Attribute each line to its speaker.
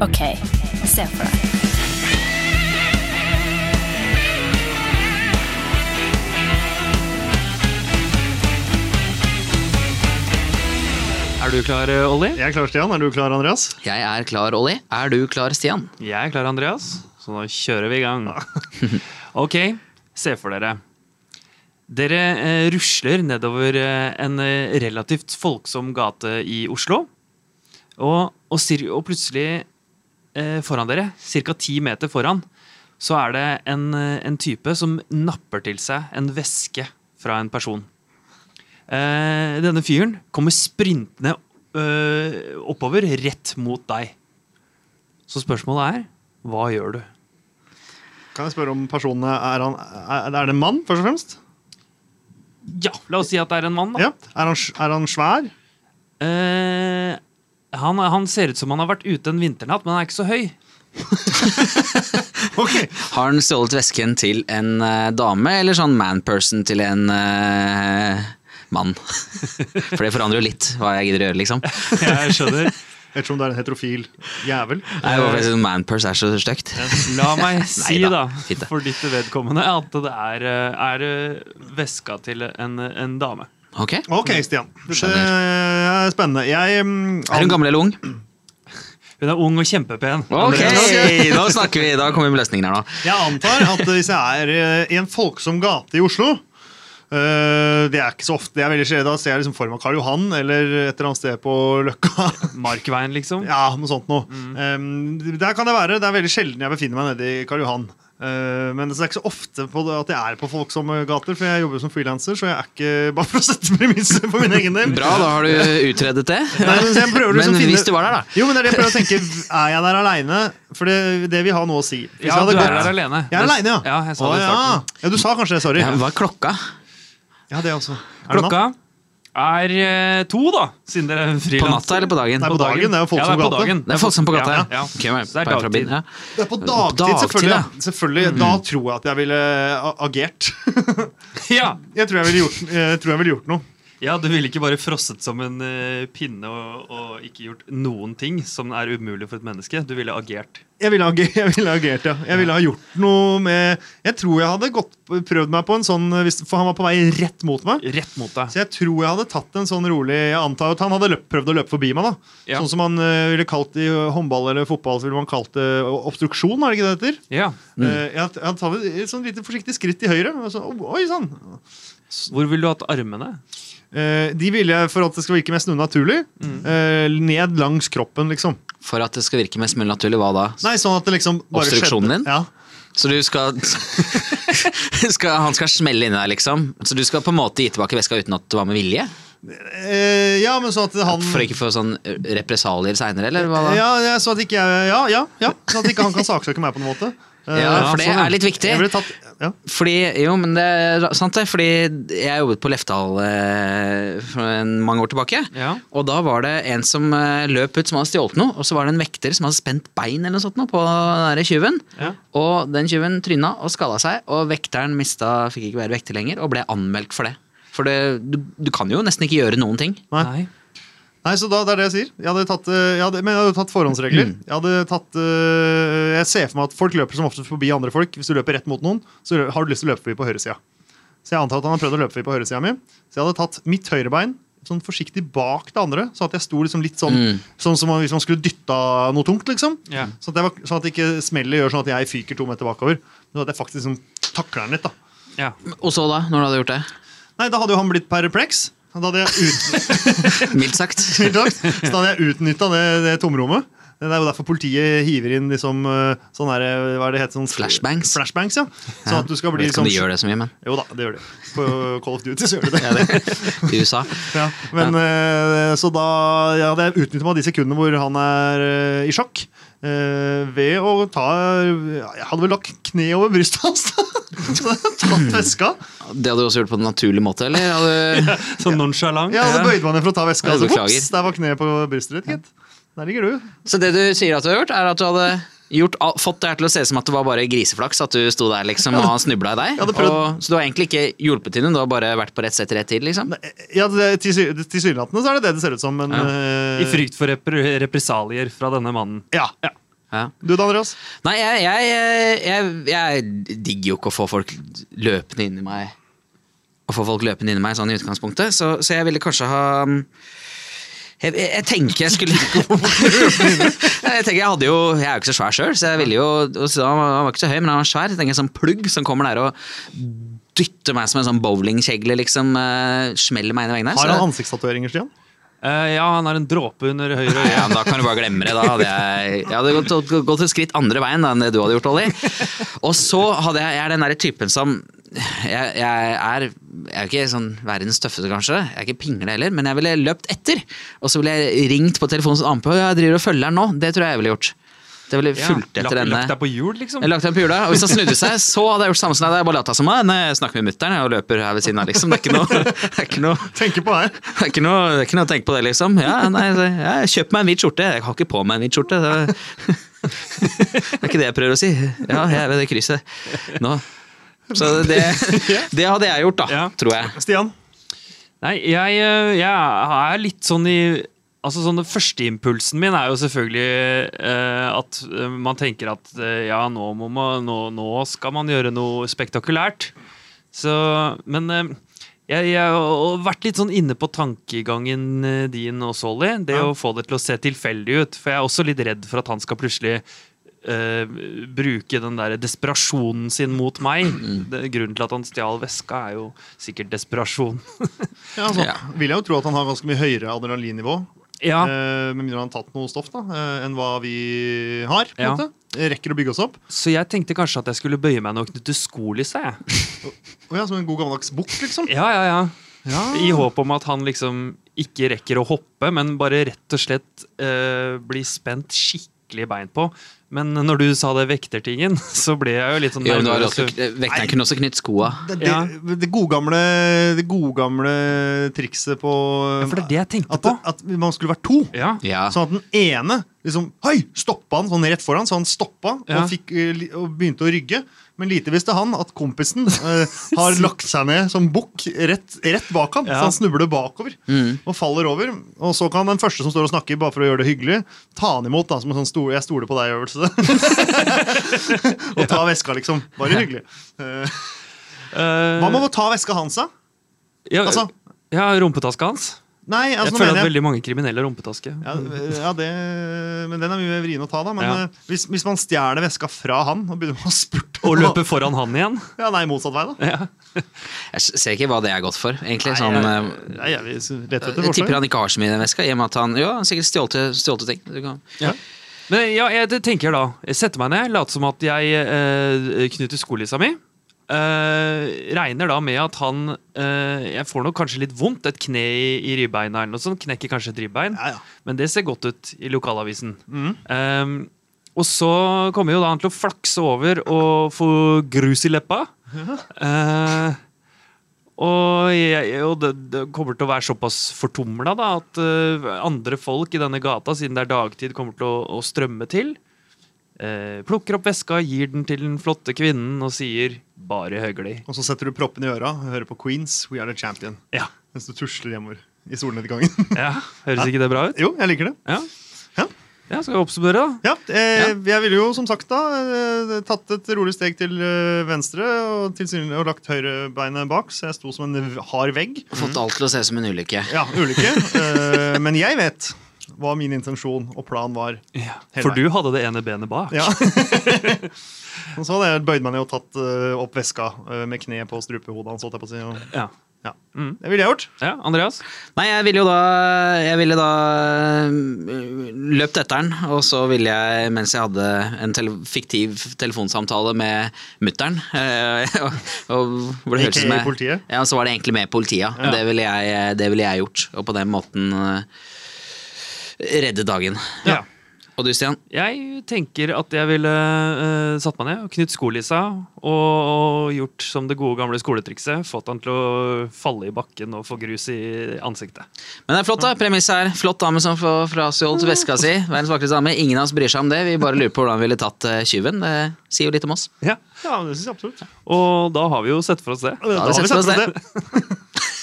Speaker 1: OK, se for deg.
Speaker 2: Er du klar, eh, Olli?
Speaker 3: Jeg er klar, Stian. Er du klar, Andreas?
Speaker 4: Jeg er klar, Olli. Er du klar, Stian?
Speaker 2: Jeg er klar, Andreas, så nå kjører vi i gang. Ok, se for dere. Dere eh, rusler nedover eh, en eh, relativt folksom gate i Oslo. Og, og, sir- og plutselig eh, foran dere, ca. ti meter foran, så er det en, eh, en type som napper til seg en veske fra en person. Eh, denne fyren kommer sprintende eh, oppover rett mot deg. Så spørsmålet er, hva gjør du?
Speaker 3: Kan jeg spørre om personene Er, han, er, er det en mann, først og fremst?
Speaker 2: Ja, la oss si at det er en mann, da.
Speaker 3: Ja. Er, han, sj- er han svær?
Speaker 2: Eh, han, han ser ut som han har vært ute en vinternatt, men han er ikke så høy.
Speaker 3: Ok.
Speaker 4: Har han stjålet vesken til en eh, dame, eller sånn manperson til en eh, mann? For det forandrer jo litt hva jeg gidder å gjøre, liksom. Nei,
Speaker 2: Jeg skjønner.
Speaker 3: Ettersom det er en heterofil jævel.
Speaker 4: bare fordi sånn manperson er så stygt.
Speaker 2: La meg si,
Speaker 4: Neida,
Speaker 2: da,
Speaker 4: fint det.
Speaker 2: for ditt vedkommende, at det er, eh, er eh, veska til en, en dame.
Speaker 4: Ok.
Speaker 3: Ok, Stian. Det
Speaker 4: Skjønner.
Speaker 3: er spennende. Jeg mm,
Speaker 4: Er hun gammel eller ung?
Speaker 2: Hun er ung og kjempepen.
Speaker 4: Ok,
Speaker 3: Ok.
Speaker 4: nå snakker vi. Da kommer vi med løsningen her nå.
Speaker 3: Jeg antar at hvis jeg er eh, i en folksom gate i Oslo eh, Det er ikke så ofte, det er veldig skjedd. Da ser jeg liksom for meg Karl Johan eller et eller annet sted på Løkka.
Speaker 2: Markveien, liksom.
Speaker 3: Ja, noe sånt noe.
Speaker 2: Mm.
Speaker 3: Eh, der kan det være. Det er veldig sjelden jeg befinner meg nede i Karl Johan. Eh, men det er ikke så ofte på det at jeg er på folksomme gater, for jeg jobber som frilanser. Så jeg er ikke bare for å sette premisser for min egen del.
Speaker 4: Bra, da har du utredet det.
Speaker 3: Nei, men så jeg prøver liksom
Speaker 4: Men
Speaker 3: finne-
Speaker 4: hvis du var der, da.
Speaker 3: Jo, men det er det jeg prøver å tenke. Er jeg der aleine? For det, det vil ha noe å si.
Speaker 2: Ja,
Speaker 3: Hvis jeg hadde
Speaker 2: du er
Speaker 3: gått-
Speaker 2: der alene.
Speaker 3: Jeg er
Speaker 2: Det-
Speaker 3: aleine, ja.
Speaker 2: ja, jeg sa
Speaker 3: Å,
Speaker 2: det i
Speaker 3: ja. ja, du sa kanskje det. Sorry.
Speaker 4: Ja, hva er klokka?
Speaker 3: Ja, det også. Er det natt?
Speaker 2: Klokka er eh, to, da, siden dere er
Speaker 4: På
Speaker 2: frilans.
Speaker 4: natta eller på dagen?
Speaker 3: Nei, på dagen. Det er jo folk
Speaker 2: Ja, det
Speaker 3: som
Speaker 2: er på
Speaker 3: gate.
Speaker 2: dagen.
Speaker 4: Det er folk som på gata,
Speaker 2: Ja,
Speaker 4: ja.
Speaker 2: ja.
Speaker 4: Ok, men
Speaker 2: Så det er
Speaker 4: bare fra
Speaker 2: dagtid.
Speaker 4: bilen, ja.
Speaker 3: Det er på
Speaker 4: På
Speaker 3: dagtid,
Speaker 4: dagtid,
Speaker 3: selvfølgelig.
Speaker 4: ja.
Speaker 3: selvfølgelig. Da
Speaker 2: Mm.
Speaker 3: tror jeg at jeg ville a- agert.
Speaker 2: Ja.
Speaker 3: jeg tror jeg ville gjort, jeg tror jeg ville gjort noe.
Speaker 2: Ja, du ville ikke bare frosset som en eh, pinne og, og ikke gjort noen ting som er umulig for et menneske. Du ville agert.
Speaker 3: Jeg ville, ager, jeg ville agert, ja. Jeg ville ha gjort noe med Jeg tror jeg hadde gått, prøvd meg på en sånn hvis- For han var på vei rett mot meg.
Speaker 2: Rett mot deg.
Speaker 3: Så jeg tror jeg hadde tatt en sånn rolig Jeg antar at han hadde løpt, prøvd å løpe forbi meg. da
Speaker 2: Ja.
Speaker 3: Sånn som han eh, ville kalt i eh, håndball eller fotball Så ville man kalt det obstruksjon. er det ikke det heter?
Speaker 2: Ja.
Speaker 4: Mm.
Speaker 3: Eh, jeg hadde- jeg hadde tatt et sånn lite forsiktig skritt til høyre. Og så, oh, oi sånn. sann!
Speaker 2: Hvor ville du hatt armene?
Speaker 3: Eh, de ville jeg, for at det skal virke mest mulig naturlig, eh, ned langs kroppen, liksom.
Speaker 4: For at det skal virke mest mulig naturlig, hva da?
Speaker 3: Nei, sånn at det liksom bare
Speaker 4: Obstruksjonen
Speaker 3: skjedde.
Speaker 4: din?
Speaker 3: Ja.
Speaker 4: Så du skal, skal Han skal smelle inni deg, liksom? Så du skal på en måte gi tilbake veska uten at det var med vilje?
Speaker 3: Eh, ja, men sånn at han
Speaker 4: For å ikke få sånn represalier seinere, eller hva da?
Speaker 3: ja, ja, sånn at ikke jeg Ja, ja, ja. Sånn at ikke han kan saksøke meg på noen måte. Eh,
Speaker 4: Ja, for det
Speaker 3: sånn, ja.
Speaker 4: er litt viktig.
Speaker 3: Jeg ville tatt, ja.
Speaker 4: Fordi, jo, men det er sant det, fordi jeg jobbet på Lefdal eh, for en- mange år tilbake.
Speaker 2: Ja.
Speaker 4: Og da var det en som eh, løp ut som hadde stjålet noe, og så var det en vekter som hadde spent bein eller noe sånt nå på den der tjuven.
Speaker 2: Ja.
Speaker 4: Og den tjuven tryna og skada seg, og vekteren mista, fikk ikke være vekter lenger, og ble anmeldt for det. For det, du, du kan jo nesten ikke gjøre noen ting.
Speaker 3: Nei. Nei, så da, det er det jeg sier. Jeg hadde tatt, eh, jeg hadde, men jeg hadde tatt forhåndsregler.
Speaker 4: Mm.
Speaker 3: Jeg hadde tatt eh, Jeg ser for meg at folk løper som oftest forbi andre folk. Hvis du løper rett mot noen, så lø- har du lyst til å løpe forbi på høyresida. Så jeg antar at han har prøvd å løpe forbi på høyresida mi. Så jeg hadde tatt mitt høyrebein sånn forsiktig bak det andre, sånn at jeg sto liksom litt sånn
Speaker 4: Mm.
Speaker 3: Sånn som hvis man skulle dytta noe tungt, liksom.
Speaker 2: Ja.
Speaker 3: Sånn at, jeg var, sånn at ikke smellet gjør sånn at jeg fyker to meter bakover. Men at jeg faktisk liksom takler den litt, da.
Speaker 2: Ja.
Speaker 4: Og så da, når du hadde gjort det?
Speaker 3: Nei, da hadde jo han blitt perpleks. Da hadde jeg ut,
Speaker 4: Mildt sagt.
Speaker 3: tiltak. Så da hadde jeg utnytta det, det tomrommet. Det er jo derfor politiet hiver inn liksom, eh, sånn her, eh, hva er det heter, sånn
Speaker 4: Flashbangs.
Speaker 3: Flashbangs, ja. Sånn at du skal
Speaker 4: Jeg
Speaker 3: bli
Speaker 4: vet ikke om de
Speaker 3: sånn-
Speaker 4: gjør det så mye, men
Speaker 3: Jo da, det gjør de. På Call of Duty så gjør de det.
Speaker 4: i USA.
Speaker 3: Ja. Men, eh, Så da ja, hadde jeg utnyttet meg de sekundene hvor han er eh, i sjokk. eh, ved å ta ja, Jeg hadde vel lagt kne over brystet hans. da. Så jeg hadde tatt veska.
Speaker 4: Det hadde du også gjort på en naturlig måte, eller? Hadde...
Speaker 2: Så nonchalant.
Speaker 3: Jeg hadde bøyd meg ned for å ta veska.
Speaker 4: Ja,
Speaker 3: Altså,
Speaker 4: beklager.
Speaker 3: Ops, der var kneet på brystet ditt, gitt. Der ligger du.
Speaker 4: Så det du sier at du har gjort, er at du hadde gjort, al- fått det her til å se ut som at det var bare griseflaks at du sto der liksom og han snubla i
Speaker 3: hadde
Speaker 4: deg.
Speaker 3: prøvd-
Speaker 4: Og, så du har egentlig ikke hjulpet til noen, du har bare vært på rett sted til rett tid, liksom.
Speaker 3: Ja, det- tilsy- Tilsynelatende så er det det det ser ut som, men
Speaker 4: Ja.
Speaker 3: eh,
Speaker 2: I frykt for repre represalier fra denne mannen.
Speaker 3: Ja.
Speaker 4: Ja.
Speaker 3: Du da, Andreas?
Speaker 4: Nei, jeg, jeg, jeg, jeg digger jo ikke å få folk løpende inn i meg. Å få folk løpende inn i meg sånn i utgangspunktet, så, så jeg ville kanskje ha mm, jeg, jeg, jeg tenker jeg skulle Nei, Jeg tenker jeg hadde jo Jeg er jo ikke så svær sjøl, så jeg ville jo og så Han var han var ikke så høy, men han var svær. Jeg tenker en sånn plugg som kommer der og dytter meg som en sånn bowlingkjegle, liksom. eh, smeller meg inn i veggen der.
Speaker 3: Har
Speaker 4: så-
Speaker 3: han ansiktstatueringer, Stian?
Speaker 2: Eh, ja, han har en dråpe under høyre øye.
Speaker 4: Ja, men Da kan du bare glemme det. Da hadde jeg, jeg hadde gått, gått et skritt andre veien da, enn det du hadde gjort, Olli. Og så hadde jeg, jeg er den derre typen som jeg, jeg, er, jeg er jo ikke sånn verdens tøffeste, kanskje. Jeg er ikke pingle heller, men jeg ville løpt etter. Og så ville jeg ringt på telefonen som annen på. Jeg driver og følger den nå. Det tror jeg jeg ville gjort. Det ville
Speaker 2: Ja,
Speaker 4: fulgt
Speaker 2: lagt-
Speaker 4: etter denne.
Speaker 2: Lagt deg på hjul, liksom.
Speaker 4: Jeg lagt den på hjulet, og hvis han snudde seg, så hadde jeg gjort samme som deg. Jeg bare lata som meg. Nei, jeg snakker med mutter'n og løper her ved siden av, liksom. Det er ikke noe, det er ikke noe
Speaker 3: Tenker på her.
Speaker 4: det er ikke noe, det er ikke noe å tenke på det, liksom. Ja, nei, så- ja, kjøp meg en hvit skjorte. Jeg har ikke på meg en hvit skjorte. Det det er ikke det jeg prøver å si. Ja, jeg er ved det krysset nå. Så det, det hadde jeg gjort, da,
Speaker 2: Ja.
Speaker 4: tror jeg.
Speaker 3: Stian?
Speaker 2: Nei, jeg, eh, jeg er litt sånn i Altså sånn Den første impulsen min er jo selvfølgelig eh, at eh, man tenker at eh, ja, nå, må man, nå, nå skal man gjøre noe spektakulært. Så, men eh, jeg, jeg har vært litt sånn inne på tankegangen eh, din også, Olli. Det
Speaker 3: Ja.
Speaker 2: å få det til å se tilfeldig ut. For jeg er også litt redd for at han skal plutselig eh, bruke den der desperasjonen sin mot meg. Det, grunnen til at han stjal veska, er jo sikkert desperasjon.
Speaker 3: Ja, altså,
Speaker 4: Ja.
Speaker 3: Vil jeg jo tro at han har ganske mye høyere adrenalinnivå.
Speaker 2: Ja,
Speaker 3: eh, Med mindre han har tatt noe stoff da, eh, enn hva vi har. på en
Speaker 2: Ja.
Speaker 3: måte. Rekker å bygge oss opp.
Speaker 2: Så jeg tenkte kanskje at jeg skulle bøye meg ned og knytte skolisset. jeg.
Speaker 3: Å ja, som en god gammeldags bukk, liksom.
Speaker 2: Ja, ja, ja.
Speaker 3: Ja.
Speaker 2: I håp om at han liksom ikke rekker å hoppe, men bare rett og slett eh, blir spent skikkelig bein på. Men når du sa det vektertingen, så ble jeg jo litt sånn
Speaker 4: Jo, men du har
Speaker 2: nervøs.
Speaker 3: altså-
Speaker 4: også, vekteren kunne også knytt skoa.
Speaker 3: Det,
Speaker 2: Ja.
Speaker 3: det, det gode gamle, det gode gamle trikset på
Speaker 2: Ja, for det er det jeg tenkte
Speaker 3: at,
Speaker 2: på.
Speaker 3: at man skulle vært to.
Speaker 2: Ja.
Speaker 4: Ja.
Speaker 3: Sånn at den ene liksom, hei, stoppa han sånn rett foran, så han stoppa
Speaker 2: Ja.
Speaker 3: og, fikk, eh, li- og begynte å rygge. Men lite visste han at kompisen eh, har lagt seg ned som bukk rett, rett bak ham.
Speaker 2: Ja.
Speaker 3: Så han snubler bakover
Speaker 4: Mm.
Speaker 3: og faller over. Og så kan den første som står og snakker, bare for å gjøre det hyggelig, ta han imot da, som en sånn stol, 'jeg stoler på deg'-øvelse. og ta veska, liksom. Bare hyggelig. Eh,
Speaker 2: Eh,
Speaker 3: Hva med å ta veska hans, da?
Speaker 2: ja,
Speaker 3: altså-
Speaker 2: ja, rumpetaska hans.
Speaker 3: Nei,
Speaker 2: jeg
Speaker 3: altså,
Speaker 2: føler
Speaker 3: nå mener
Speaker 2: at
Speaker 3: jeg
Speaker 2: veldig mange kriminelle har rumpetaske.
Speaker 3: Ja, ja det, men den er mye vrien å ta, da. Men
Speaker 2: Ja.
Speaker 3: eh, hvis, hvis man stjeler veska fra han og begynner å spurte
Speaker 2: Og løper foran han igjen.
Speaker 3: Ja, nei, motsatt vei, da.
Speaker 4: Jeg ser ikke hva det er godt for, egentlig. Sånn, eh,
Speaker 3: Nei, jeg, vil s- rett etter
Speaker 4: jeg tipper
Speaker 3: forslag.
Speaker 4: han ikke har så mye i den veska, i og med at han jo, han sikkert stjålte, stjålte ting. Du kan-
Speaker 2: Men ja, jeg det tenker da Jeg setter meg ned, later som at jeg eh, knytter skolissa mi. Eh, regner da med at han eh, Jeg får nok kanskje litt vondt, et kne i, i ribbeina eller noe sånt. Knekker kanskje et ribbein.
Speaker 3: Ja, ja.
Speaker 2: Men det ser godt ut i lokalavisen. Eh, og så kommer jo da han til å flakse over og få grus i leppa. Eh, og, jeg, og det, det kommer til å være såpass fortumla da, at eh, andre folk i denne gata, siden det er dagtid, kommer til å, å strømme til. Eh, plukker opp veska, gir den til den flotte kvinnen og sier 'bare høgli'.
Speaker 3: Og så setter du proppen i øra og hører på Queens We Are The Champion.
Speaker 2: Ja.
Speaker 3: Mens du tusler hjemover i solnedgangen.
Speaker 2: ja. Høres ikke det bra ut?
Speaker 3: jo, jeg liker det.
Speaker 2: Ja.
Speaker 3: Ja.
Speaker 2: ja skal vi oppsummere, da?
Speaker 3: Ja, eh,
Speaker 4: Ja.
Speaker 3: Jeg ville jo som sagt da eh, tatt et rolig steg til eh, venstre og, tilsynelatende- og lagt høyrebeinet bak, så jeg sto som en v- hard vegg.
Speaker 4: Fått alt til å se ut som en ulykke.
Speaker 3: Ja, ulykke. Eh, men jeg vet hva min intensjon og plan var.
Speaker 2: Ja.
Speaker 3: Hele
Speaker 2: For
Speaker 3: veien.
Speaker 2: du hadde det ene benet bak.
Speaker 3: Ja. og så hadde jeg bøyd meg ned og tatt eh, opp veska eh, med kneet på strupehodet hans. holdt jeg på å si, og-
Speaker 2: Ja.
Speaker 3: Ja.
Speaker 2: Mm.
Speaker 3: Det ville jeg gjort.
Speaker 2: ja Andreas?
Speaker 4: Nei, jeg ville jo da Jeg ville da øh, løpt etter den, og så ville jeg, mens jeg hadde en tele fiktiv telefonsamtale med mutter'n øh, og, og, hvor
Speaker 3: Ikke
Speaker 4: det høres ut som
Speaker 3: i
Speaker 4: jeg-
Speaker 3: politiet?
Speaker 4: Ja, så var det egentlig med politiet. ja.
Speaker 3: Ja.
Speaker 4: Det, ville jeg, øh, det ville jeg gjort, og på den måten øh, redde dagen.
Speaker 2: Ja.
Speaker 4: Og du, Stian?
Speaker 2: Jeg tenker at jeg ville eh, satt meg ned og knytt skolissa og, og gjort som det gode gamle skoletrikset. Fått han til å falle i bakken og få grus i ansiktet.
Speaker 4: Men det er flott, da. Premisset er flott dame som får frastjålet veska si. Verdens vakreste dame. Ingen av oss bryr seg om det. Vi bare lurer på hvordan vi ville tatt øh, tyven. Det sier jo litt om oss.
Speaker 2: Ja.
Speaker 3: Ja, men det synes jeg absolutt.
Speaker 2: Og da har vi jo sett for oss det.
Speaker 3: Da
Speaker 4: vi sett for oss
Speaker 3: for oss